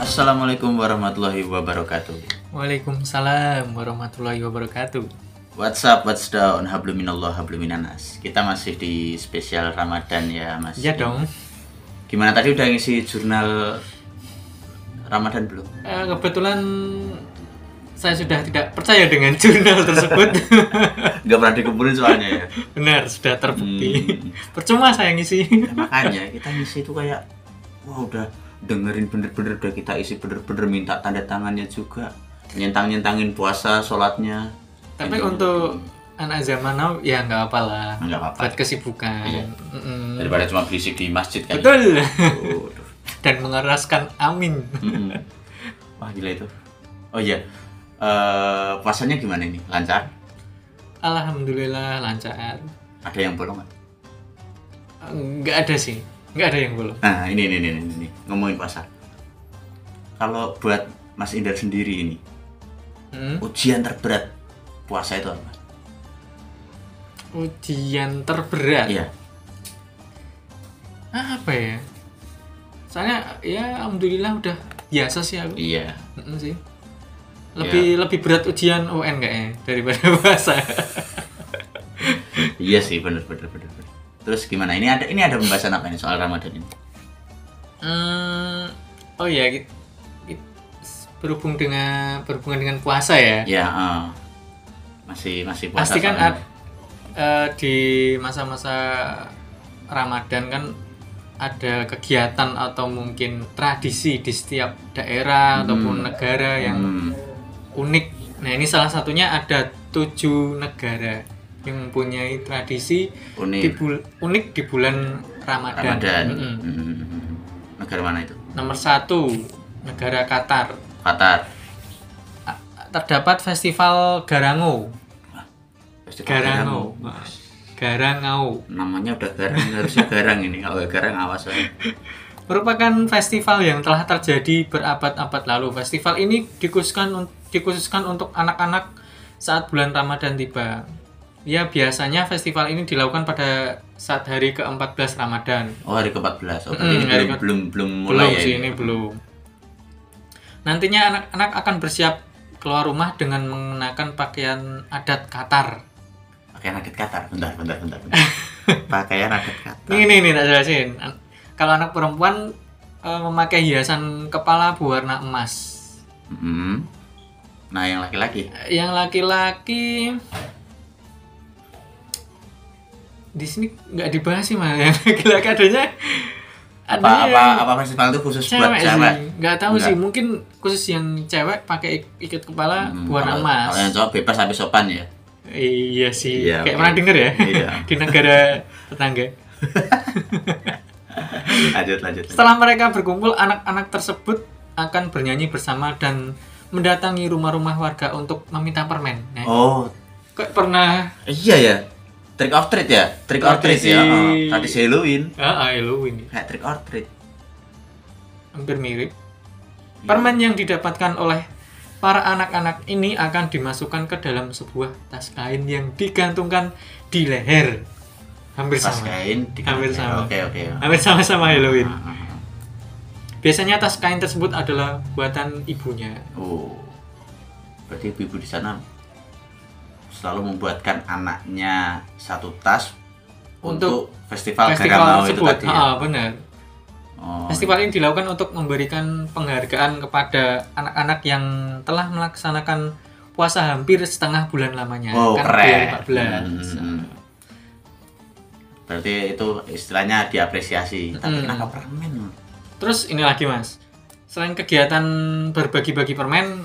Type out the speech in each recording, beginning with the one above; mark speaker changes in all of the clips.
Speaker 1: Assalamualaikum warahmatullahi wabarakatuh.
Speaker 2: Waalaikumsalam warahmatullahi wabarakatuh.
Speaker 1: What's up, what's down, hablum minallah, hablum minanas. Kita masih di spesial Ramadan ya, Mas.
Speaker 2: Iya dong.
Speaker 1: Gimana tadi udah ngisi jurnal Ramadan belum?
Speaker 2: Eh, kebetulan saya sudah tidak percaya dengan jurnal tersebut.
Speaker 1: Nggak pernah dikumpulin soalnya ya.
Speaker 2: Benar, sudah terbukti.
Speaker 1: Hmm.
Speaker 2: Percuma saya ngisi.
Speaker 1: Makanya kita ngisi itu kayak wah udah dengerin bener-bener udah kita isi bener-bener minta tanda tangannya juga. Nyentang-nyentangin puasa, sholatnya. Gitu.
Speaker 2: Tapi untuk anak zaman now ya nggak apalah.
Speaker 1: Nggak apa-apa.
Speaker 2: Buat kesibukan.
Speaker 1: Iya.
Speaker 2: Mm-mm.
Speaker 1: daripada cuma berisik di masjid kan. Oh,
Speaker 2: Betul.
Speaker 1: Waduh.
Speaker 2: Dan mengeraskan amin.
Speaker 1: Mm-mm. Wah gila itu. Oh iya, Eh, puasanya gimana ini? Lancar?
Speaker 2: Alhamdulillah lancar.
Speaker 1: Ada yang bolong nggak?
Speaker 2: Nggak ada sih. Nggak ada yang belum.
Speaker 1: Nah ini ini ini ini, ini. ngomongin puasa. Kalau buat Mas Indar sendiri ini
Speaker 2: Hmm?
Speaker 1: ujian terberat puasa itu apa?
Speaker 2: Ujian terberat.
Speaker 1: Iya.
Speaker 2: apa ya soalnya ya alhamdulillah udah biasa sih aku
Speaker 1: Iya.
Speaker 2: Mm-mm sih lebih lebih berat ujian UN kayaknya daripada bahasa
Speaker 1: Iya sih bener bener bener. bener. Terus gimana? Ini ada ini ada pembahasan apa ini soal Ramadan ini?
Speaker 2: Hmm, oh ya ki- ki- berhubung dengan berhubungan dengan puasa ya
Speaker 1: Ya eh, masih masih puasa.
Speaker 2: pasti kan
Speaker 1: soalnya.
Speaker 2: ad- eh, di masa-masa Ramadan kan ada kegiatan atau mungkin tradisi di setiap daerah ataupun negara yang
Speaker 1: Hmm,
Speaker 2: unik. Nah ini salah satunya ada tujuh negara yang mempunyai tradisi
Speaker 1: unik.
Speaker 2: di bul- unik di bulan Ramadan.
Speaker 1: Ramadan. Hmm,
Speaker 2: Mm-mm.
Speaker 1: Mm-mm. Negara mana itu?
Speaker 2: Nomor satu negara Qatar
Speaker 1: Qatar.
Speaker 2: A- terdapat festival Garango.
Speaker 1: Festival
Speaker 2: Garango. Garangau
Speaker 1: namanya udah garang harusnya garang ini kalau nggak garang awas aja
Speaker 2: merupakan festival yang telah terjadi berabad-abad lalu. Festival ini dikhususkan un- dikhususkan untuk anak-anak saat bulan Ramadan tiba. Ya biasanya festival ini dilakukan pada saat hari ke-14 Ramadan.
Speaker 1: oh hari ke-14 oh, berarti
Speaker 2: Mm,
Speaker 1: ini
Speaker 2: hari
Speaker 1: belum,
Speaker 2: ke-
Speaker 1: belum belum mulai
Speaker 2: belum
Speaker 1: ya
Speaker 2: sih ini belum. Nantinya anak-anak akan bersiap keluar rumah dengan mengenakan pakaian adat Qatar.
Speaker 1: pakaian rakyat Qatar bentar bentar bentar, bentar. pakaian rakyat Qatar
Speaker 2: Ini nih nih tak jelasin. An- Kalau anak perempuan eh, memakai hiasan kepala berwarna emas.
Speaker 1: Mm. nah yang laki-laki
Speaker 2: yang laki-laki di sini nggak dibahas sih mah yang laki-laki adanya
Speaker 1: apa apa apa festival itu khusus buat
Speaker 2: cewek
Speaker 1: cewek
Speaker 2: sih nggak tahu
Speaker 1: Nggak.
Speaker 2: sih mungkin khusus yang cewek pakai ik- ikat kepala
Speaker 1: Hmm,
Speaker 2: warna
Speaker 1: kalau-
Speaker 2: emas
Speaker 1: kalau yang cowok bebas habis sopan ya
Speaker 2: iya sih
Speaker 1: Iya,
Speaker 2: kayak
Speaker 1: oke.
Speaker 2: pernah denger ya
Speaker 1: Iya.
Speaker 2: di negara tetangga
Speaker 1: lanjut lanjut, lanjut.
Speaker 2: setelah mereka berkumpul anak-anak tersebut akan bernyanyi bersama dan mendatangi rumah-rumah warga untuk meminta permen nah,
Speaker 1: oh
Speaker 2: kok pernah
Speaker 1: iya ya trick or treat ya trick or treat ya oh,
Speaker 2: Tradisi-
Speaker 1: tradisi Halloween
Speaker 2: ah Halloween
Speaker 1: kayak trick or treat
Speaker 2: hampir mirip.
Speaker 1: Iya.
Speaker 2: Permen yang didapatkan oleh para anak-anak ini akan dimasukkan ke dalam sebuah tas kain yang digantungkan di leher. Hampir
Speaker 1: pas
Speaker 2: sama.
Speaker 1: kain di-
Speaker 2: Hampir sama.
Speaker 1: oke oke
Speaker 2: Hampir sama-sama Halloween.
Speaker 1: Ah, ah, ah.
Speaker 2: Biasanya tas kain tersebut adalah buatan ibunya.
Speaker 1: Oh, berarti ibu-ibu di sana selalu membuatkan anaknya satu tas untuk,
Speaker 2: Untuk
Speaker 1: festival,
Speaker 2: Festival
Speaker 1: Garangau itu
Speaker 2: tersebut,
Speaker 1: tadi. Ya?
Speaker 2: Ah, benar.
Speaker 1: Oh,
Speaker 2: Festival ini dilakukan untuk memberikan penghargaan kepada anak-anak yang telah melaksanakan puasa hampir setengah bulan lamanya.
Speaker 1: wow,
Speaker 2: Kan
Speaker 1: Oh, keren.
Speaker 2: bulan 14.
Speaker 1: Hmm. Berarti itu istilahnya diapresiasi. Tapi
Speaker 2: Hmm.
Speaker 1: kenapa permen?
Speaker 2: Terus ini lagi mas, selain kegiatan berbagi-bagi permen,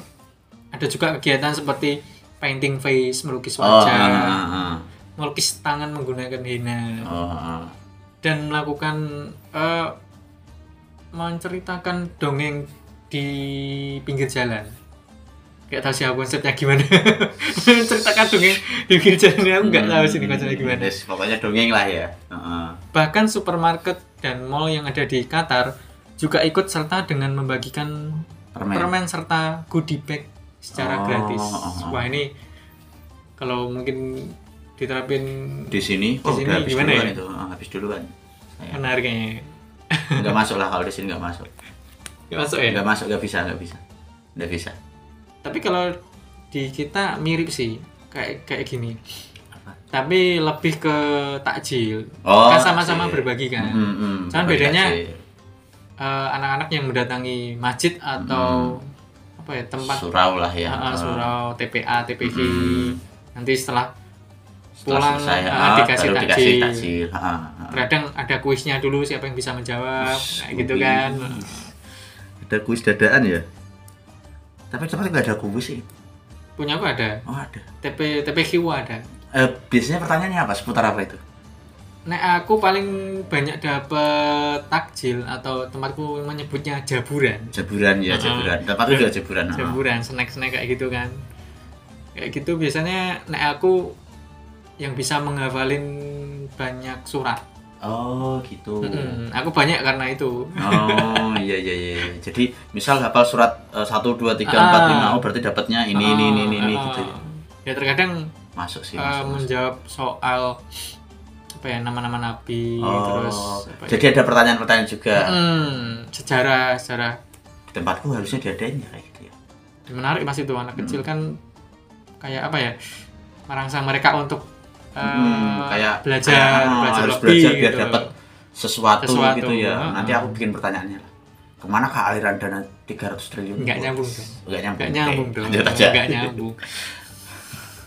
Speaker 2: ada juga kegiatan seperti painting face, melukis
Speaker 1: Oh, ah,
Speaker 2: wajah,
Speaker 1: ah, ah.
Speaker 2: melukis tangan menggunakan henna,
Speaker 1: oh, ah.
Speaker 2: dan melakukan eh, menceritakan dongeng di pinggir jalan. Gak tahu sih aku konsepnya gimana. menceritakan dongeng di pinggir jalan aku nggak tahu sih ini konsepnya
Speaker 1: Hmm,
Speaker 2: gimana.
Speaker 1: yes, pokoknya dongeng lah ya. Ah, ah.
Speaker 2: Bahkan supermarket dan mall yang ada di Qatar juga ikut serta dengan membagikan
Speaker 1: Permen.
Speaker 2: permen serta goodie bag secara
Speaker 1: Oh,
Speaker 2: gratis.
Speaker 1: oh, oh.
Speaker 2: Wah ini kalau mungkin diterapin
Speaker 1: Di sini, oh,
Speaker 2: sini
Speaker 1: udah habis
Speaker 2: gimana
Speaker 1: duluan
Speaker 2: ya?
Speaker 1: itu, Ah, habis duluan. Saya
Speaker 2: menarik ya. kayaknya.
Speaker 1: nggak masuk lah kalau di sini nggak masuk.
Speaker 2: Masuk ya?
Speaker 1: Eh, Nggak masuk, nggak bisa, nggak bisa. Nggak bisa.
Speaker 2: Tapi kalau di kita mirip sih kayak kayak gini.
Speaker 1: Apa?
Speaker 2: Tapi lebih ke takjil.
Speaker 1: Oh,
Speaker 2: kan sama-sama
Speaker 1: takjil.
Speaker 2: berbagi kan.
Speaker 1: Mm, mm,
Speaker 2: Cuman
Speaker 1: pakai
Speaker 2: bedanya,
Speaker 1: takjil.
Speaker 2: Eh, anak-anak yang mendatangi masjid atau apa ya tempat
Speaker 1: Mm-hmm. surau lah ya.
Speaker 2: Ah, ah, surau TPA, TPG.
Speaker 1: Mm.
Speaker 2: Nanti setelah
Speaker 1: Setelah
Speaker 2: pulang,
Speaker 1: selesai,
Speaker 2: ah,
Speaker 1: ah,
Speaker 2: dikasih
Speaker 1: baru
Speaker 2: takjil.
Speaker 1: takjil. Ah, ah, ah.
Speaker 2: kadang ada kuisnya dulu siapa yang bisa menjawab
Speaker 1: Ush, iya.
Speaker 2: kayak gitu
Speaker 1: kuis.
Speaker 2: kan.
Speaker 1: Ada kuis dadaan ya? Tapi cepat nggak ada kuis sih.
Speaker 2: Punya aku ada.
Speaker 1: Oh ada.
Speaker 2: TP TPQ ada.
Speaker 1: Eh, biasanya pertanyaannya apa? Seputar apa itu?
Speaker 2: Nek aku paling banyak dapat takjil atau tempatku menyebutnya jaburan.
Speaker 1: Jaburan ya,
Speaker 2: Ah.
Speaker 1: jaburan. Tempat itu juga jaburan. ah.
Speaker 2: Jaburan, snack-snack kayak gitu kan. Kayak gitu biasanya nek aku yang bisa menghafalin banyak surat.
Speaker 1: Oh gitu.
Speaker 2: Mm-mm, Aku banyak karena itu.
Speaker 1: Oh iya iya iya. Jadi misal hafal surat eh, satu dua tiga empat lima,
Speaker 2: Ah.
Speaker 1: oh berarti dapatnya ini ini ini ini, ini,
Speaker 2: Ah,
Speaker 1: gitu. ya.
Speaker 2: Ya terkadang
Speaker 1: Masuk sih.
Speaker 2: eh,
Speaker 1: Masuk, masuk.
Speaker 2: menjawab soal apa ya nama-nama nabi
Speaker 1: Oh,
Speaker 2: terus apa ya,
Speaker 1: jadi ada pertanyaan-pertanyaan juga.
Speaker 2: Mm, sejarah sejarah
Speaker 1: Di Tempatku harusnya diadain ya kayak gitu ya.
Speaker 2: menarik mas itu
Speaker 1: Hmm.
Speaker 2: anak kecil kan kayak apa ya merangsang mereka untuk eh,
Speaker 1: Hmm, kayak
Speaker 2: belajar
Speaker 1: kayak, ah,
Speaker 2: belajar
Speaker 1: harus
Speaker 2: lebih
Speaker 1: belajar biar
Speaker 2: gitu.
Speaker 1: dapat sesuatu,
Speaker 2: Sesuatu,
Speaker 1: gitu ya.
Speaker 2: ah,
Speaker 1: Nanti
Speaker 2: ah.
Speaker 1: aku bikin pertanyaannya lah. Kemana kah aliran dana 300 triliun?
Speaker 2: Nggak
Speaker 1: Oh,
Speaker 2: nyambung dong.
Speaker 1: Nggak nyambung.
Speaker 2: nggak nyambung
Speaker 1: Oke,
Speaker 2: dong
Speaker 1: lanjut aja.
Speaker 2: nggak nyambung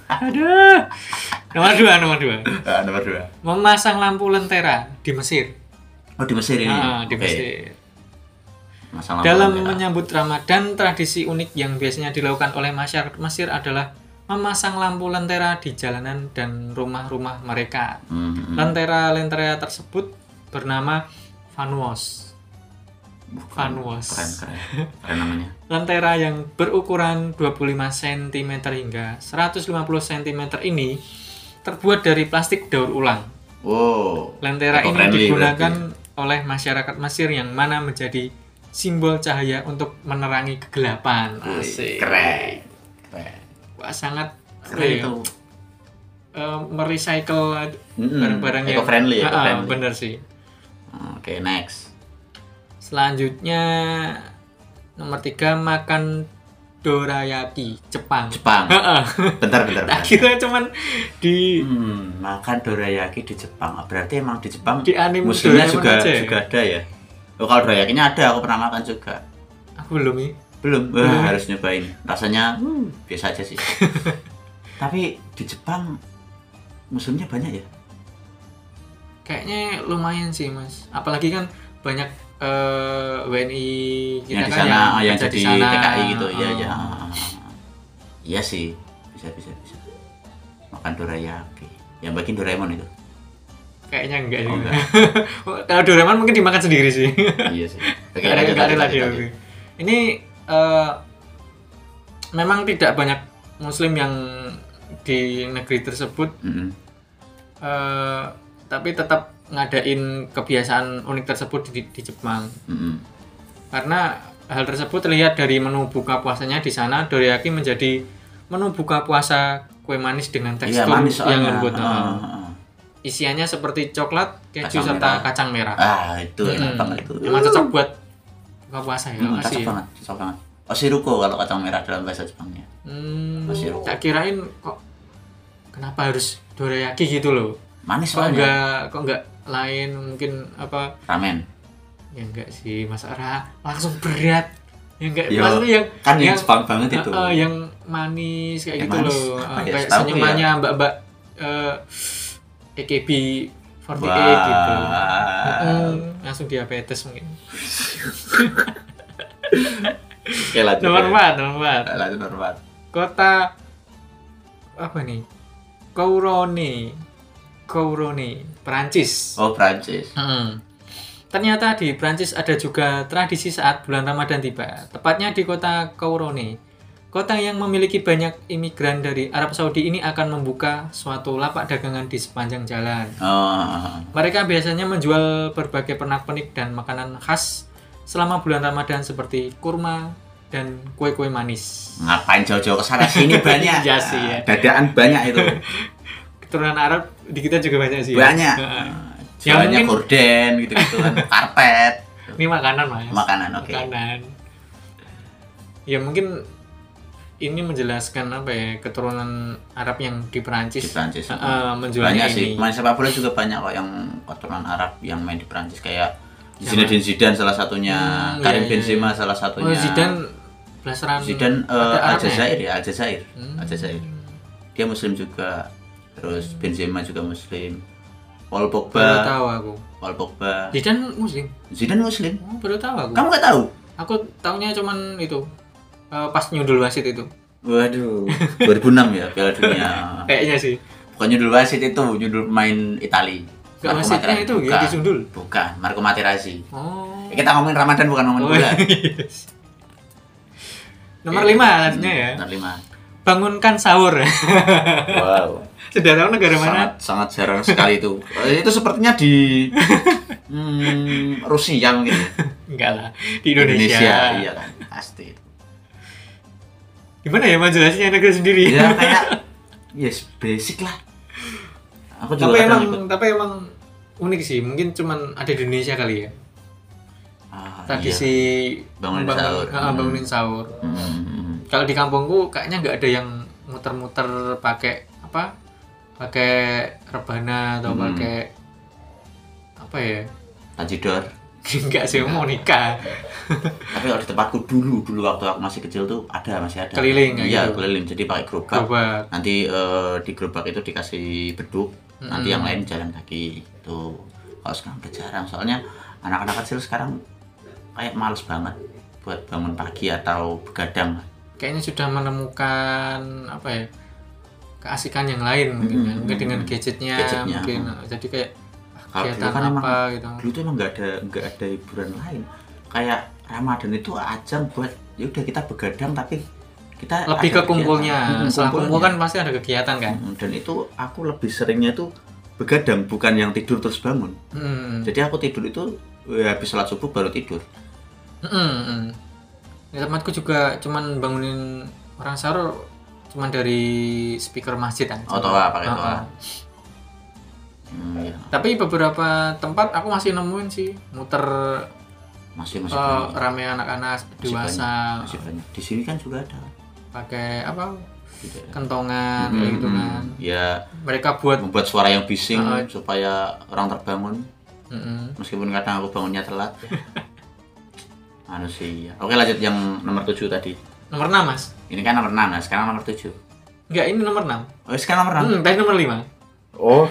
Speaker 2: aduh nomor dua nomor dua
Speaker 1: Ah, nomor dua.
Speaker 2: memasang lampu lentera di Mesir
Speaker 1: Oh di Mesir ini.
Speaker 2: Ah, di
Speaker 1: Oke.
Speaker 2: Mesir
Speaker 1: Masalah
Speaker 2: Dalam
Speaker 1: apa? ya,
Speaker 2: menyambut Ramadan, tradisi unik yang biasanya dilakukan oleh masyarakat Mesir adalah memasang lampu lentera di jalanan dan rumah-rumah mereka.
Speaker 1: Hmm, hmm.
Speaker 2: Lentera-lentera tersebut bernama fanuos.
Speaker 1: Bukan.
Speaker 2: Vanuas.
Speaker 1: Keren, keren. Keren namanya.
Speaker 2: Lentera yang berukuran 25 cm hingga 150 cm ini terbuat dari plastik daur ulang.
Speaker 1: Wow.
Speaker 2: Lentera ini
Speaker 1: Eco-friendly
Speaker 2: digunakan
Speaker 1: berarti.
Speaker 2: oleh masyarakat Mesir yang mana menjadi simbol cahaya untuk menerangi kegelapan.
Speaker 1: Wih,
Speaker 2: Asik.
Speaker 1: Keren. Keren.
Speaker 2: Wah, sangat apa
Speaker 1: Keren
Speaker 2: ya,
Speaker 1: itu.
Speaker 2: eh, merecycle
Speaker 1: Mm-mm,
Speaker 2: barang-barang yang
Speaker 1: eco-friendly, ya,
Speaker 2: Ah, ah,
Speaker 1: eco-friendly.
Speaker 2: bener sih.
Speaker 1: Oke, next.
Speaker 2: Selanjutnya nomor tiga makan dorayaki Jepang.
Speaker 1: Jepang.
Speaker 2: Ah, ah.
Speaker 1: Bentar, bentar. bentar.
Speaker 2: Tak kira cuman di
Speaker 1: Hmm, makan dorayaki di Jepang. Oh, Berarti emang di Jepang
Speaker 2: Di anime
Speaker 1: muslimnya
Speaker 2: Doraemon
Speaker 1: juga
Speaker 2: aja ya?
Speaker 1: juga ada ya. Oh, kalau dorayakinya ada, aku pernah makan juga.
Speaker 2: aku belum nih.
Speaker 1: Belum, Wah,
Speaker 2: Belum.
Speaker 1: harus nyobain. Rasanya hmm, biasa aja sih. Tapi di Jepang muslimnya banyak ya?
Speaker 2: Kayaknya lumayan sih mas. Apalagi kan banyak eh, WNI
Speaker 1: yang
Speaker 2: kita
Speaker 1: di
Speaker 2: kan
Speaker 1: sana ah, yang
Speaker 2: kerja
Speaker 1: jadi
Speaker 2: di sana.
Speaker 1: TKI gitu iya
Speaker 2: Ah.
Speaker 1: ya iya sih bisa bisa bisa makan dorayaki yang bagian Doraemon itu
Speaker 2: Kayaknya enggak.
Speaker 1: oh,
Speaker 2: juga.
Speaker 1: enggak
Speaker 2: Kalau Doraemon mungkin dimakan sendiri sih.
Speaker 1: iya sih oke
Speaker 2: Nggak
Speaker 1: lanjut lanjut
Speaker 2: rela- nggak rela
Speaker 1: lanjut,
Speaker 2: dia,
Speaker 1: lanjut.
Speaker 2: oke. Ini eh, memang tidak banyak Muslim yang di negeri tersebut,
Speaker 1: Mm-mm.
Speaker 2: eh, tapi tetap ngadain kebiasaan unik tersebut di, di Jepang.
Speaker 1: Mm-mm.
Speaker 2: Karena hal tersebut terlihat dari menu buka puasanya di sana, dorayaki menjadi menu buka puasa kue manis dengan
Speaker 1: iya
Speaker 2: tekstur
Speaker 1: manis soalnya
Speaker 2: yang lembut.
Speaker 1: Ah,
Speaker 2: Nah, Isiannya seperti coklat, keju
Speaker 1: Kacang
Speaker 2: serta
Speaker 1: merah.
Speaker 2: kacang merah.
Speaker 1: ah, ah. Ah, itu enak
Speaker 2: Hmm,
Speaker 1: banget itu
Speaker 2: Emang cocok buat buka puasa ya,
Speaker 1: Hmm,
Speaker 2: makasih
Speaker 1: cocok
Speaker 2: ya.
Speaker 1: banget cocok banget Osiruko kalau kacang merah dalam bahasa Jepangnya
Speaker 2: Hmm,
Speaker 1: Masih rokok.
Speaker 2: tak kirain kok kenapa harus dorayaki gitu loh.
Speaker 1: manis
Speaker 2: Kok
Speaker 1: soalnya
Speaker 2: enggak kok enggak lain mungkin apa
Speaker 1: ramen
Speaker 2: ya enggak sih Mas Ara langsung berat. Ya enggak
Speaker 1: Yo,
Speaker 2: maksudnya yang
Speaker 1: kan yang
Speaker 2: Yang-
Speaker 1: Jepang banget itu
Speaker 2: eh, eh, yang manis kayak
Speaker 1: Yang
Speaker 2: gitu
Speaker 1: manis,
Speaker 2: loh.
Speaker 1: apa
Speaker 2: Eh,
Speaker 1: ya,
Speaker 2: kayak
Speaker 1: setahu ya.
Speaker 2: senyumannya Mbak-mbak eh EKB 48 gitu.
Speaker 1: wah
Speaker 2: Hmm, langsung diabetes mungkin.
Speaker 1: oke lanjut
Speaker 2: Nomor
Speaker 1: ya.
Speaker 2: 4, nomor 4.
Speaker 1: lanjut nomor empat.
Speaker 2: kota apa nih Kourone Kourone Perancis
Speaker 1: oh Prancis
Speaker 2: Mm. ternyata di Perancis ada juga tradisi saat bulan Ramadan tiba tepatnya di kota Kourone kota yang memiliki banyak imigran dari Arab Saudi ini akan membuka suatu lapak dagangan di sepanjang jalan
Speaker 1: Oh,
Speaker 2: mereka biasanya menjual berbagai pernak-pernik dan makanan khas selama bulan Ramadan seperti kurma dan kue-kue manis
Speaker 1: ngapain jauh-jauh ke sana sini banyak.
Speaker 2: Iya sih, ya.
Speaker 1: Dadaan banyak itu.
Speaker 2: keturunan Arab di kita juga banyak sih. ya.
Speaker 1: Banyak. Ah,
Speaker 2: Heeh. Ya,
Speaker 1: Jualannya
Speaker 2: mungkin-
Speaker 1: gorden gitu-gitu kan, karpet,
Speaker 2: Ini makanan mas.
Speaker 1: makanan oke.
Speaker 2: Makanan. ya mungkin ini menjelaskan apa ya keturunan Arab yang
Speaker 1: di
Speaker 2: di Perancis
Speaker 1: Prancis.
Speaker 2: eh, eh,
Speaker 1: banyak
Speaker 2: menjualnya
Speaker 1: sih.
Speaker 2: ini.
Speaker 1: Pemain sepak bola juga banyak kok yang keturunan Arab yang main di Prancis kayak Zinedine Zidane salah satunya,
Speaker 2: Hmm, iya,
Speaker 1: Karim
Speaker 2: iya,
Speaker 1: Benzema salah
Speaker 2: Oh,
Speaker 1: satunya.
Speaker 2: Zidane blasteran
Speaker 1: Zidane eh,
Speaker 2: ada Arabnya ya?
Speaker 1: Aljazair ya, Aljazair.
Speaker 2: Hmm.
Speaker 1: Aljazair. Dia muslim juga. Terus Benzema juga muslim. Paul Pogba,
Speaker 2: Baru tahu aku.
Speaker 1: Paul Pogba.
Speaker 2: Zidane muslim.
Speaker 1: Zidane muslim.
Speaker 2: Oh, baru tahu aku.
Speaker 1: Kamu nggak tahu?
Speaker 2: Aku taunya cuman itu eh, pas nyundul wasit itu.
Speaker 1: Waduh, 2006 ya Piala Dunia.
Speaker 2: Kayaknya sih.
Speaker 1: Bukan judul wasit itu, judul pemain Itali.
Speaker 2: Gak
Speaker 1: Marco
Speaker 2: wasitnya
Speaker 1: Materazzi.
Speaker 2: itu ya
Speaker 1: bukan.
Speaker 2: disundul.
Speaker 1: bukan, Marco Materazzi.
Speaker 2: Oh.
Speaker 1: Eh, Kita ngomongin Ramadan bukan ngomongin
Speaker 2: Oh,
Speaker 1: bola.
Speaker 2: yes. Nomor lima artinya ya.
Speaker 1: Nomor lima.
Speaker 2: Bangunkan sahur.
Speaker 1: Wow.
Speaker 2: Sudah tahu negara mana?
Speaker 1: sangat, sangat jarang sekali itu. Eh, Itu sepertinya di hmm, Rusia mungkin.
Speaker 2: Enggak lah, di Indonesia.
Speaker 1: iya kan, pasti. itu.
Speaker 2: Gimana ya menjelasnya negara sendiri?
Speaker 1: Ya kayak yes basic lah. Aku juga
Speaker 2: tapi
Speaker 1: kadang
Speaker 2: emang
Speaker 1: ikut.
Speaker 2: tapi emang unik sih. Mungkin cuman ada di Indonesia kali ya.
Speaker 1: Ah, iya.
Speaker 2: Tradisi
Speaker 1: Bangunin
Speaker 2: bangun-
Speaker 1: sahur.
Speaker 2: Ah, bangunin sahur.
Speaker 1: Hmm, hmm, hmm.
Speaker 2: Kalau di kampungku kayaknya nggak ada yang muter-muter pakai apa? Pakai rebana atau
Speaker 1: Hmm.
Speaker 2: pakai apa ya?
Speaker 1: Tajidor.
Speaker 2: Enggak sih mau nikah.
Speaker 1: Tapi kalau di tempatku dulu, dulu waktu aku masih kecil tuh ada, masih ada.
Speaker 2: Keliling, kayak
Speaker 1: Iya,
Speaker 2: gitu.
Speaker 1: keliling. Jadi pakai gerobak.
Speaker 2: Coba.
Speaker 1: Nanti eh, di gerobak itu dikasih beduk. Nanti yang
Speaker 2: Hmm.
Speaker 1: lain jalan kaki. Itu kalau sekarang udah jarang. Soalnya anak-anak kecil sekarang kayak males banget buat bangun pagi atau begadang.
Speaker 2: kayaknya sudah menemukan apa ya keasikan yang lain mungkin
Speaker 1: Hmm,
Speaker 2: kan. mungkin
Speaker 1: hmm,
Speaker 2: dengan
Speaker 1: hmm.
Speaker 2: gadgetnya,
Speaker 1: Gadgetnya,
Speaker 2: mungkin jadi kayak ah,
Speaker 1: Kalau dulu
Speaker 2: kegiatan
Speaker 1: kan emang-
Speaker 2: apa gitu
Speaker 1: Dulu tuh emang nggak ada nggak ada hiburan lain. Kayak Ramadan itu ajang buat ya udah kita begadang tapi kita
Speaker 2: lebih
Speaker 1: ada
Speaker 2: ke kumpulnya
Speaker 1: kegiatan. Hmm,
Speaker 2: setelah
Speaker 1: kumpulnya.
Speaker 2: kumpul kan pasti ada kegiatan kan
Speaker 1: Mm, dan itu aku lebih seringnya itu begadang bukan yang tidur terus bangun
Speaker 2: Hmm,
Speaker 1: jadi aku tidur itu ya, habis sholat subuh baru tidur
Speaker 2: hmm, hmm. Di tempatku juga cuman bangunin orang sahur cuman dari speaker masjid kan
Speaker 1: oh toa pakai
Speaker 2: Ah,
Speaker 1: toa
Speaker 2: ah.
Speaker 1: Hmm, ya.
Speaker 2: tapi beberapa tempat aku masih nemuin sih muter
Speaker 1: masih masih
Speaker 2: eh,
Speaker 1: banyak
Speaker 2: rame anak-anak
Speaker 1: Masih
Speaker 2: dewasa
Speaker 1: masih banyak di sini kan juga ada Gitu
Speaker 2: pakai apa
Speaker 1: Tidak ada.
Speaker 2: kentongan kayak gitu
Speaker 1: Mm,
Speaker 2: kan
Speaker 1: ya
Speaker 2: mereka buat
Speaker 1: membuat suara yang bising
Speaker 2: Ah.
Speaker 1: supaya orang terbangun
Speaker 2: Mm-mm.
Speaker 1: meskipun kadang aku bangunnya telat manusia oke lanjut yang nomor 7 tadi
Speaker 2: Nomor 6, Mas.
Speaker 1: ini kan nomor 6 nah sekarang nomor 7
Speaker 2: Enggak, ini nomor 6.
Speaker 1: oh sekarang nomor 6
Speaker 2: Hmm, tadi nomor 5.
Speaker 1: Oh.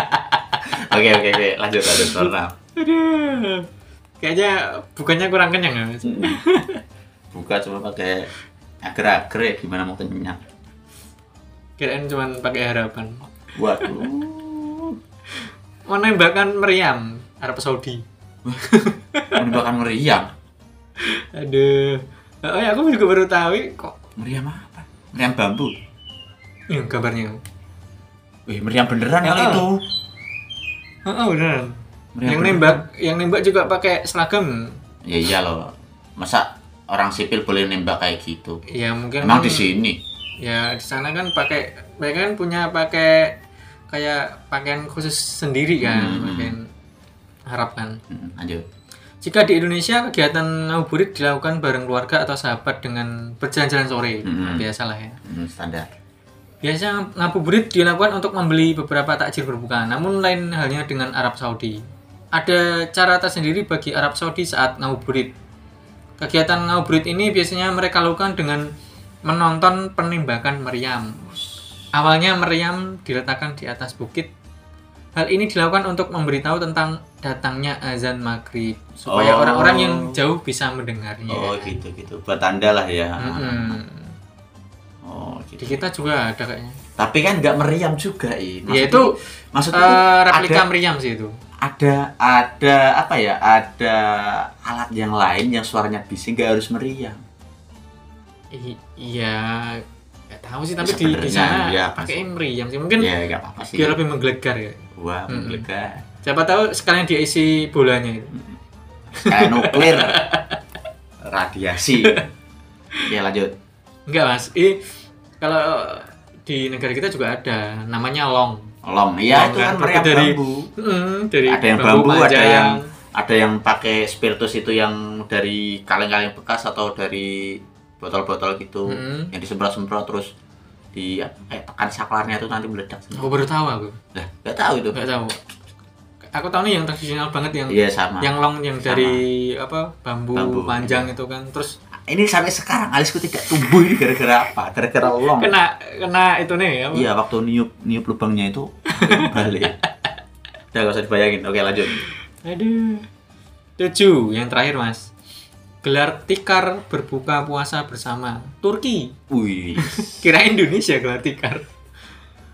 Speaker 1: Oke oke oke lanjut lanjut Tornam.
Speaker 2: Aduh. Kayaknya bukannya kurang kenyang ya, Mas.
Speaker 1: Buka coba pakai agar-agar ya gimana mau kenyang.
Speaker 2: Kirain cuma pakai harapan.
Speaker 1: Waduh.
Speaker 2: Menembakkan meriam Arab Saudi.
Speaker 1: Menembakkan meriam.
Speaker 2: Aduh. Oh ya, aku juga baru tahu kok.
Speaker 1: Meriam apa? Meriam bambu.
Speaker 2: Ini gambarnya.
Speaker 1: Wih, meriam beneran ya? kali
Speaker 2: Ah.
Speaker 1: itu.
Speaker 2: Oh, oh, beneran.
Speaker 1: Meriam
Speaker 2: yang
Speaker 1: beneran.
Speaker 2: nembak, yang nembak juga pakai seragam.
Speaker 1: Ya iya loh. Masa orang sipil boleh nembak kayak gitu?
Speaker 2: Ya mungkin
Speaker 1: Emang di sini.
Speaker 2: Ya di sana kan pakai mereka kan punya pakai kayak pakaian khusus sendiri kan,
Speaker 1: Hmm.
Speaker 2: pakaian Arab kan.
Speaker 1: Hmm, Lanjut.
Speaker 2: Jika di Indonesia kegiatan ngabuburit dilakukan bareng keluarga atau sahabat dengan berjalan-jalan sore,
Speaker 1: Hmm.
Speaker 2: biasalah ya.
Speaker 1: Hmm, standar.
Speaker 2: Biasanya ngabuburit dilakukan untuk membeli beberapa takjil berbuka, namun lain halnya dengan Arab Saudi. Ada cara tersendiri bagi Arab Saudi saat ngabuburit. Kegiatan ngabuburit ini biasanya mereka lakukan dengan menonton penembakan meriam. Awalnya meriam diletakkan di atas bukit. Hal ini dilakukan untuk memberitahu tentang datangnya azan maghrib supaya
Speaker 1: Oh.
Speaker 2: orang-orang yang jauh bisa mendengarnya.
Speaker 1: Oh gitu gitu. Buat tanda lah ya.
Speaker 2: Mm-mm.
Speaker 1: Oh
Speaker 2: Di
Speaker 1: gitu.
Speaker 2: kita juga ada kayaknya.
Speaker 1: Tapi kan nggak meriam juga ini.
Speaker 2: Ya itu
Speaker 1: maksudnya tuh
Speaker 2: eh replika
Speaker 1: ada
Speaker 2: meriam sih itu.
Speaker 1: ada ada apa ya ada alat yang lain yang suaranya bising gak harus meriam
Speaker 2: I- iya, nggak tahu sih tapi di,
Speaker 1: Sebenarnya,
Speaker 2: di sana
Speaker 1: iya,
Speaker 2: pakai
Speaker 1: pasti.
Speaker 2: meriam sih mungkin
Speaker 1: ya gak apa-apa sih
Speaker 2: biar lebih menggelegar ya.
Speaker 1: wah
Speaker 2: Mm-mm.
Speaker 1: menggelegar
Speaker 2: Siapa tahu sekalian dia isi bolanya gitu. itu.
Speaker 1: kayak nuklir radiasi ya lanjut
Speaker 2: Enggak mas, Ih, kalau di negara kita juga ada namanya long.
Speaker 1: long ya
Speaker 2: Long
Speaker 1: itu kan
Speaker 2: kan,
Speaker 1: meriam
Speaker 2: tapi dari-
Speaker 1: bambu
Speaker 2: Mm, dari
Speaker 1: ada yang bambu, ada
Speaker 2: panjang.
Speaker 1: yang ada yang pakai spiritus itu yang dari kaleng-kaleng bekas atau dari botol-botol gitu
Speaker 2: Hmm.
Speaker 1: yang disemprot-semprot terus di apa, kayak tekan saklarnya itu nanti meledak sendiri.
Speaker 2: Aku baru tahu aku.
Speaker 1: Lah, nggak tahu itu.
Speaker 2: Enggak tahu. Aku tahu nih yang tradisional banget yang
Speaker 1: Iya sama.
Speaker 2: yang long yang
Speaker 1: Sama.
Speaker 2: dari apa bambu,
Speaker 1: Bambu, iya.
Speaker 2: panjang itu kan. Terus
Speaker 1: Ini sampai sekarang alisku tidak tumbuh ini gara-gara apa? Gara-gara long.
Speaker 2: kena kena itu nih ya.
Speaker 1: Iya, waktu niup niup lubangnya itu balik. Udah gak usah dibayangin. Oke, lanjut.
Speaker 2: Aduh. Tujuh, yang terakhir mas. Gelar tikar berbuka puasa bersama. Turki.
Speaker 1: Wih.
Speaker 2: Kira Indonesia gelar tikar.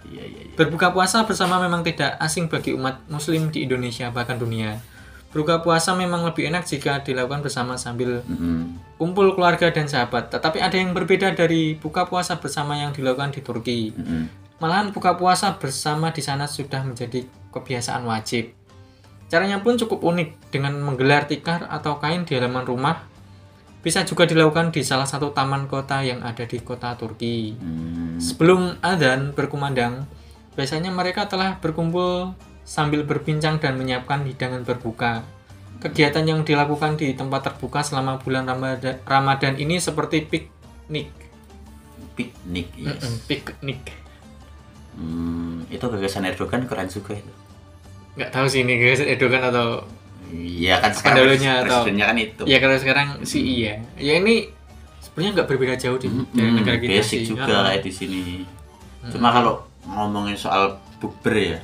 Speaker 1: Iya, iya, iya.
Speaker 2: Berbuka puasa bersama memang tidak asing bagi umat muslim di Indonesia bahkan dunia. Berbuka puasa memang lebih enak jika dilakukan bersama sambil
Speaker 1: Mm-mm.
Speaker 2: kumpul keluarga dan sahabat. Tetapi ada yang berbeda dari buka puasa bersama yang dilakukan di Turki.
Speaker 1: Mm-mm.
Speaker 2: Malahan buka puasa bersama di sana sudah menjadi kebiasaan wajib. Caranya pun cukup unik dengan menggelar tikar atau kain di halaman rumah. Bisa juga dilakukan di salah satu taman kota yang ada di kota Turki.
Speaker 1: Mm.
Speaker 2: Sebelum adzan berkumandang, biasanya mereka telah berkumpul sambil berbincang dan menyiapkan hidangan berbuka. Kegiatan yang dilakukan di tempat terbuka selama bulan Ramada- Ramadan ini seperti piknik.
Speaker 1: Piknik, yes.
Speaker 2: Mm-mm, piknik.
Speaker 1: Hmm, itu gagasan Erdogan keren juga itu.
Speaker 2: nggak tahu sih ini guys Erdogan atau
Speaker 1: Iya kan sekarang
Speaker 2: Pendahulunya atau-
Speaker 1: presidennya kan itu.
Speaker 2: ya kalau sekarang si
Speaker 1: Hmm.
Speaker 2: iya ya ini sebenarnya nggak berbeda jauh di
Speaker 1: Mm-mm,
Speaker 2: dari negara kita
Speaker 1: Hmm, basic
Speaker 2: sih
Speaker 1: juga
Speaker 2: Ah,
Speaker 1: lah di sini. Cuma kalau ngomongin soal bukber ya,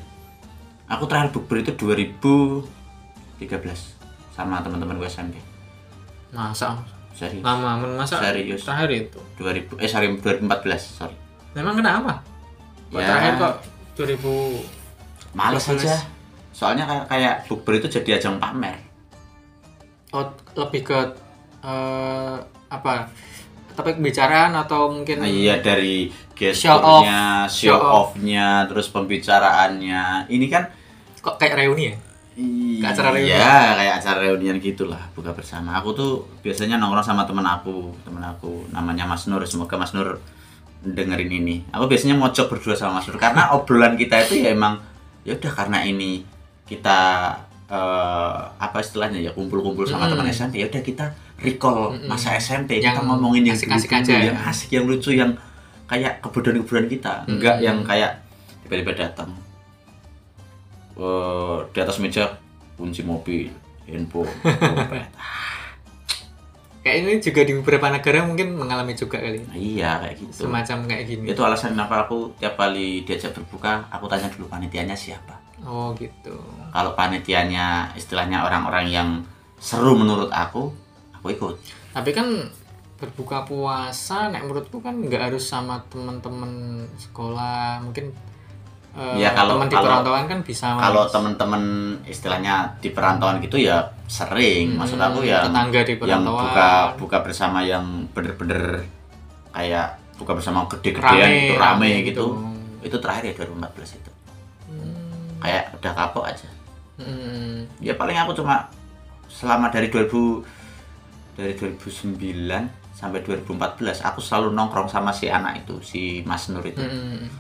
Speaker 1: aku terakhir bukber itu 2013 sama teman-teman gue SMP.
Speaker 2: masa
Speaker 1: Serius.
Speaker 2: lama men masa
Speaker 1: Serius.
Speaker 2: terakhir itu
Speaker 1: 2000 eh sorry 2014 sorry.
Speaker 2: memang kenapa kok
Speaker 1: Ya.
Speaker 2: terakhir kok 2000
Speaker 1: Males
Speaker 2: Males.
Speaker 1: aja. Soalnya kayak kayak bukber itu jadi ajang pamer.
Speaker 2: oh, lebih ke eh, apa topik pembicaraan atau mungkin
Speaker 1: Nah, iya dari
Speaker 2: Show off.
Speaker 1: gesturnya,
Speaker 2: Show
Speaker 1: show
Speaker 2: off.
Speaker 1: off-nya, terus pembicaraannya. Ini kan
Speaker 2: kok kayak reuni ya
Speaker 1: Iya,
Speaker 2: acara reunian.
Speaker 1: kayak acara reunian gitulah, buka bersama. Aku tuh biasanya nongkrong sama temen aku, temen aku namanya Mas Nur. Semoga Mas Nur dengerin ini. Aku biasanya mojok berdua sama Mas Nur karena obrolan kita itu ya emang ya udah karena ini kita eh, apa istilahnya ya kumpul-kumpul sama
Speaker 2: Mm.
Speaker 1: teman SMP. Ya udah kita recall
Speaker 2: Mm-mm.
Speaker 1: masa SMP, kita
Speaker 2: Yang
Speaker 1: ngomongin yang
Speaker 2: asik-asik
Speaker 1: dulu-dulu,
Speaker 2: aja.
Speaker 1: yang asik, yang lucu, yang kayak kebodohan-kebodohan kita. Enggak
Speaker 2: Mm-mm.
Speaker 1: yang kayak tiba-tiba datang eh, di atas meja kunci mobil handphone dompet.
Speaker 2: kayak ini juga di beberapa negara mungkin mengalami juga kali ya.
Speaker 1: Nah, iya kayak gitu
Speaker 2: semacam kayak gini
Speaker 1: itu alasan kenapa aku tiap kali diajak berbuka aku tanya dulu panitianya siapa
Speaker 2: oh gitu
Speaker 1: kalau panitianya istilahnya orang-orang yang seru menurut aku aku ikut
Speaker 2: tapi kan berbuka puasa nek menurutku kan nggak harus sama teman-teman sekolah mungkin eh,
Speaker 1: Ya, kalau-
Speaker 2: teman di
Speaker 1: kalau-
Speaker 2: perantauan kan bisa Mas.
Speaker 1: kalau temen-temen istilahnya di perantauan gitu ya sering maksud
Speaker 2: Hmm,
Speaker 1: aku ya
Speaker 2: tetangga di
Speaker 1: yang
Speaker 2: perantauan
Speaker 1: buka buka bersama yang bener-bener kayak buka bersama gede-gedean
Speaker 2: rame
Speaker 1: gitu rame gitu itu terakhir ya 2014 itu
Speaker 2: Hmm,
Speaker 1: kayak udah kapok aja
Speaker 2: hmm,
Speaker 1: ya paling aku cuma selama dari 2000 dari 2009 sampai 2014 aku selalu nongkrong sama si anak itu si Mas Nur itu
Speaker 2: hmm.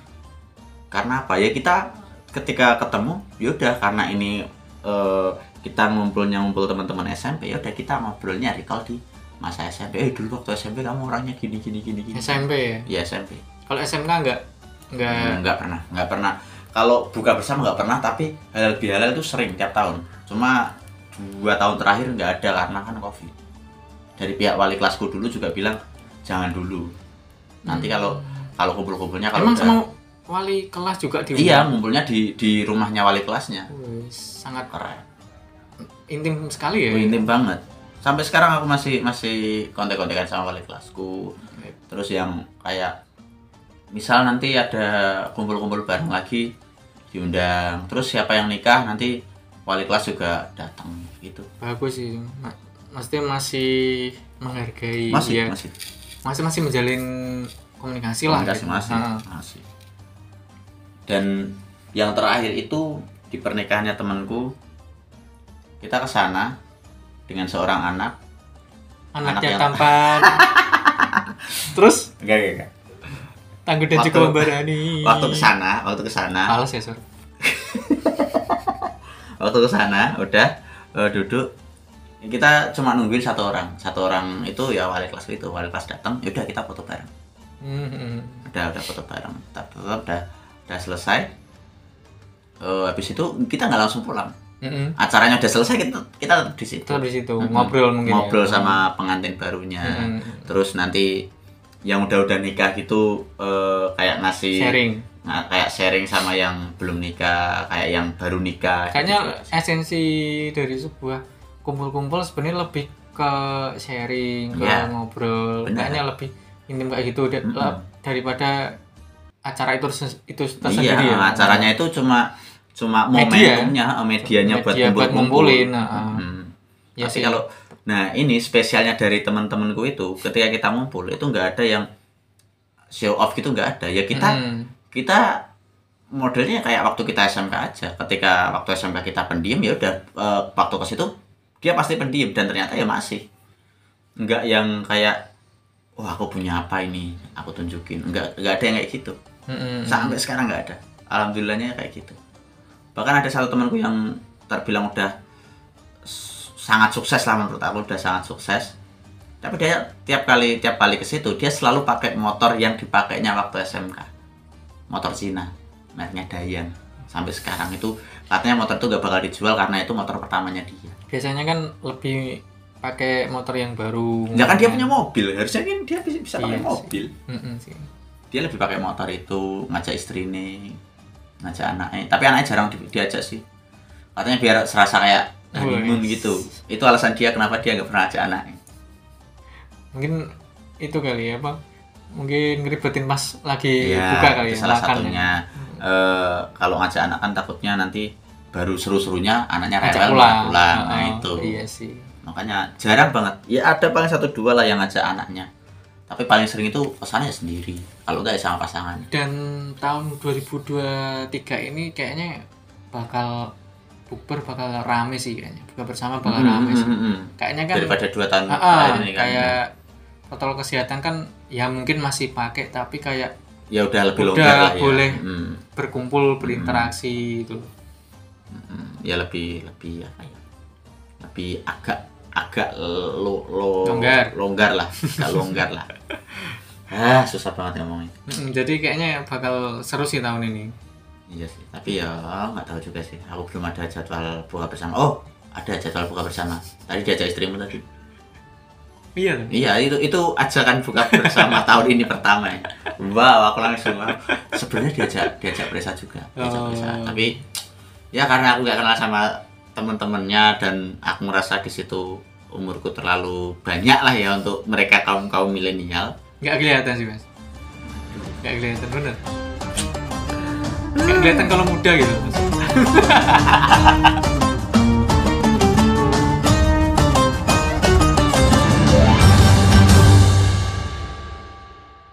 Speaker 1: karena apa ya kita ketika ketemu ya udah karena ini eh, kita ngumpulnya ngumpul teman-teman SMP ya udah kita ngobrolnya recall di masa SMP eh dulu waktu SMP kamu orangnya gini gini gini gini
Speaker 2: SMP ya
Speaker 1: ya SMP
Speaker 2: kalau SMK nggak nggak
Speaker 1: Hmm, nggak pernah nggak pernah kalau buka bersama nggak pernah tapi halal bihalal itu sering tiap tahun cuma dua tahun terakhir nggak ada karena kan covid dari pihak wali kelasku dulu juga bilang jangan dulu nanti kalau kalau kumpul-kumpulnya kalau
Speaker 2: emang gitu ya?
Speaker 1: udah-
Speaker 2: sama wali kelas juga di
Speaker 1: iya ngumpulnya di di rumahnya wali kelasnya
Speaker 2: Wih, sangat
Speaker 1: keren
Speaker 2: intim sekali ya
Speaker 1: Wih, intim banget sampai sekarang aku masih masih kontek-kontekan sama wali kelasku terus yang kayak misal nanti ada kumpul-kumpul bareng lagi diundang terus siapa yang nikah nanti wali kelas juga datang gitu
Speaker 2: bagus sih Ma- maksudnya masih menghargai
Speaker 1: masih
Speaker 2: ya.
Speaker 1: masih
Speaker 2: masih masih menjalin
Speaker 1: komunikasi
Speaker 2: komunikasi, lah gitu.
Speaker 1: masih
Speaker 2: Heeh.
Speaker 1: masih dan yang terakhir itu di pernikahannya temanku kita ke sana dengan seorang anak
Speaker 2: anaknya
Speaker 1: yang-
Speaker 2: tampan terus
Speaker 1: enggak enggak, enggak.
Speaker 2: tangguh dan
Speaker 1: Waktu-
Speaker 2: juga memberani
Speaker 1: waktu ke sana waktu ke sana
Speaker 2: males ya sur
Speaker 1: waktu ke sana udah eh, duduk kita cuma nungguin satu orang satu orang itu ya wali kelas itu wali kelas datang yaudah kita foto bareng
Speaker 2: Hmm.
Speaker 1: udah udah foto bareng tetap tetap udah udah selesai Eh, habis itu kita nggak langsung pulang
Speaker 2: Hmm.
Speaker 1: acaranya udah selesai kita kita tetap di situ
Speaker 2: Terus di situ
Speaker 1: Mm-mm.
Speaker 2: ngobrol mungkin.
Speaker 1: Mm-hmm.
Speaker 2: ya. Mm-hmm.
Speaker 1: ngobrol sama pengantin barunya
Speaker 2: Mm-mm.
Speaker 1: terus nanti yang udah-udah nikah gitu eh, kayak ngasih
Speaker 2: sharing.
Speaker 1: nah, kayak sharing sama yang belum nikah kayak yang baru nikah gitu.
Speaker 2: Kayaknya esensi dari sebuah kumpul-kumpul sebenarnya lebih ke sharing, ke
Speaker 1: Iya.
Speaker 2: ngobrol.
Speaker 1: Benar.
Speaker 2: Kayaknya lebih intim kayak gitu da-
Speaker 1: Mm-mm.
Speaker 2: la- daripada acara itu ses- itu
Speaker 1: iya
Speaker 2: tersendiri ya.
Speaker 1: acaranya itu cuma cuma
Speaker 2: Media.
Speaker 1: momentumnya eh, medianya buat
Speaker 2: Media buat
Speaker 1: kumpul-kumpul.
Speaker 2: ngumpulin, nah.
Speaker 1: Mm.
Speaker 2: Ya
Speaker 1: tapi
Speaker 2: sih.
Speaker 1: kalau nah ini spesialnya dari teman-temanku itu ketika kita ngumpul itu nggak ada yang show off gitu nggak ada ya kita
Speaker 2: Mm-mm.
Speaker 1: kita modelnya kayak waktu kita SMK aja. Ketika waktu SMK kita pendiam ya udah eh, waktu ke situ dia pasti pendiam dan ternyata ya masih. Enggak yang kayak wah aku punya apa ini, aku tunjukin. Enggak enggak ada yang kayak gitu.
Speaker 2: Mm-mm.
Speaker 1: Sampai sekarang enggak ada. Alhamdulillahnya kayak gitu. Bahkan ada satu temanku yang terbilang udah s- sangat sukses lah menurut aku udah sangat sukses. Tapi dia tiap kali tiap kali ke situ dia selalu pakai motor yang dipakainya waktu SMK motor Cina mereknya Dayan sampai sekarang itu katanya motor itu gak bakal dijual karena itu motor pertamanya dia
Speaker 2: Biasanya kan lebih pakai motor yang baru.
Speaker 1: ya kan dia punya mobil harusnya kan dia bisa, bisa pakai
Speaker 2: Oh, Iya sih.
Speaker 1: mobil
Speaker 2: Mm-mm sih.
Speaker 1: dia lebih pakai motor itu ngajak istrinya ngajak anaknya tapi anaknya jarang di- diajak sih katanya biar serasa kayak
Speaker 2: Oh,
Speaker 1: honeymoon
Speaker 2: Wes.
Speaker 1: gitu itu alasan dia kenapa dia nggak pernah ajak anaknya
Speaker 2: Mungkin itu kali ya, Pak. Mungkin ngeribetin Mas lagi
Speaker 1: Iya,
Speaker 2: buka kali
Speaker 1: itu
Speaker 2: ya. Hmm.
Speaker 1: salah
Speaker 2: makan.
Speaker 1: satunya Eh, kalau ngajak anak kan takutnya nanti baru seru-serunya anaknya
Speaker 2: Ajak
Speaker 1: rewel
Speaker 2: pulang.
Speaker 1: malah pulang nah
Speaker 2: Oh,
Speaker 1: itu
Speaker 2: Iya sih.
Speaker 1: makanya jarang banget ya ada paling satu dua lah yang ngajak anaknya tapi paling sering itu pesannya sendiri kalau nggak ya sama pasangannya
Speaker 2: Dan tahun 2023 ini kayaknya bakal bukber bakal rame sih kayaknya. Buka bersama bakal
Speaker 1: Hmm,
Speaker 2: rame iya sih. Kayaknya kan
Speaker 1: daripada dua tahun
Speaker 2: Ah, ah,
Speaker 1: terakhir ini kan
Speaker 2: kayak protokol kesehatan kan ya mungkin masih pakai tapi kayak
Speaker 1: ya udah lebih
Speaker 2: Udah,
Speaker 1: longgar lah ya.
Speaker 2: boleh.
Speaker 1: Mm,
Speaker 2: berkumpul berinteraksi gitu. itu
Speaker 1: mm, ya lebih lebih apa ya lebih agak agak lo, lo,
Speaker 2: Longgar.
Speaker 1: longgar lah agak longgar lah ah susah banget ngomongnya
Speaker 2: Mm, Jadi kayaknya bakal seru sih tahun ini.
Speaker 1: Iya sih, tapi ya nggak tahu juga sih. Aku belum ada jadwal buka bersama. Oh, ada jadwal buka bersama. Tadi diajak istrimu tadi.
Speaker 2: Iya loh.
Speaker 1: Iya, itu itu ajakan buka bersama tahun ini pertama ya. Wow, aku langsung wow. Sebenarnya diajak diajak Presa juga, diajak
Speaker 2: Oh.
Speaker 1: Presa. Tapi ya karena aku nggak kenal sama teman-temannya dan aku merasa di situ umurku terlalu banyak lah ya untuk mereka kaum kaum milenial.
Speaker 2: Nggak kelihatan sih mas. Nggak kelihatan bener. Nggak kelihatan kalau muda gitu mas.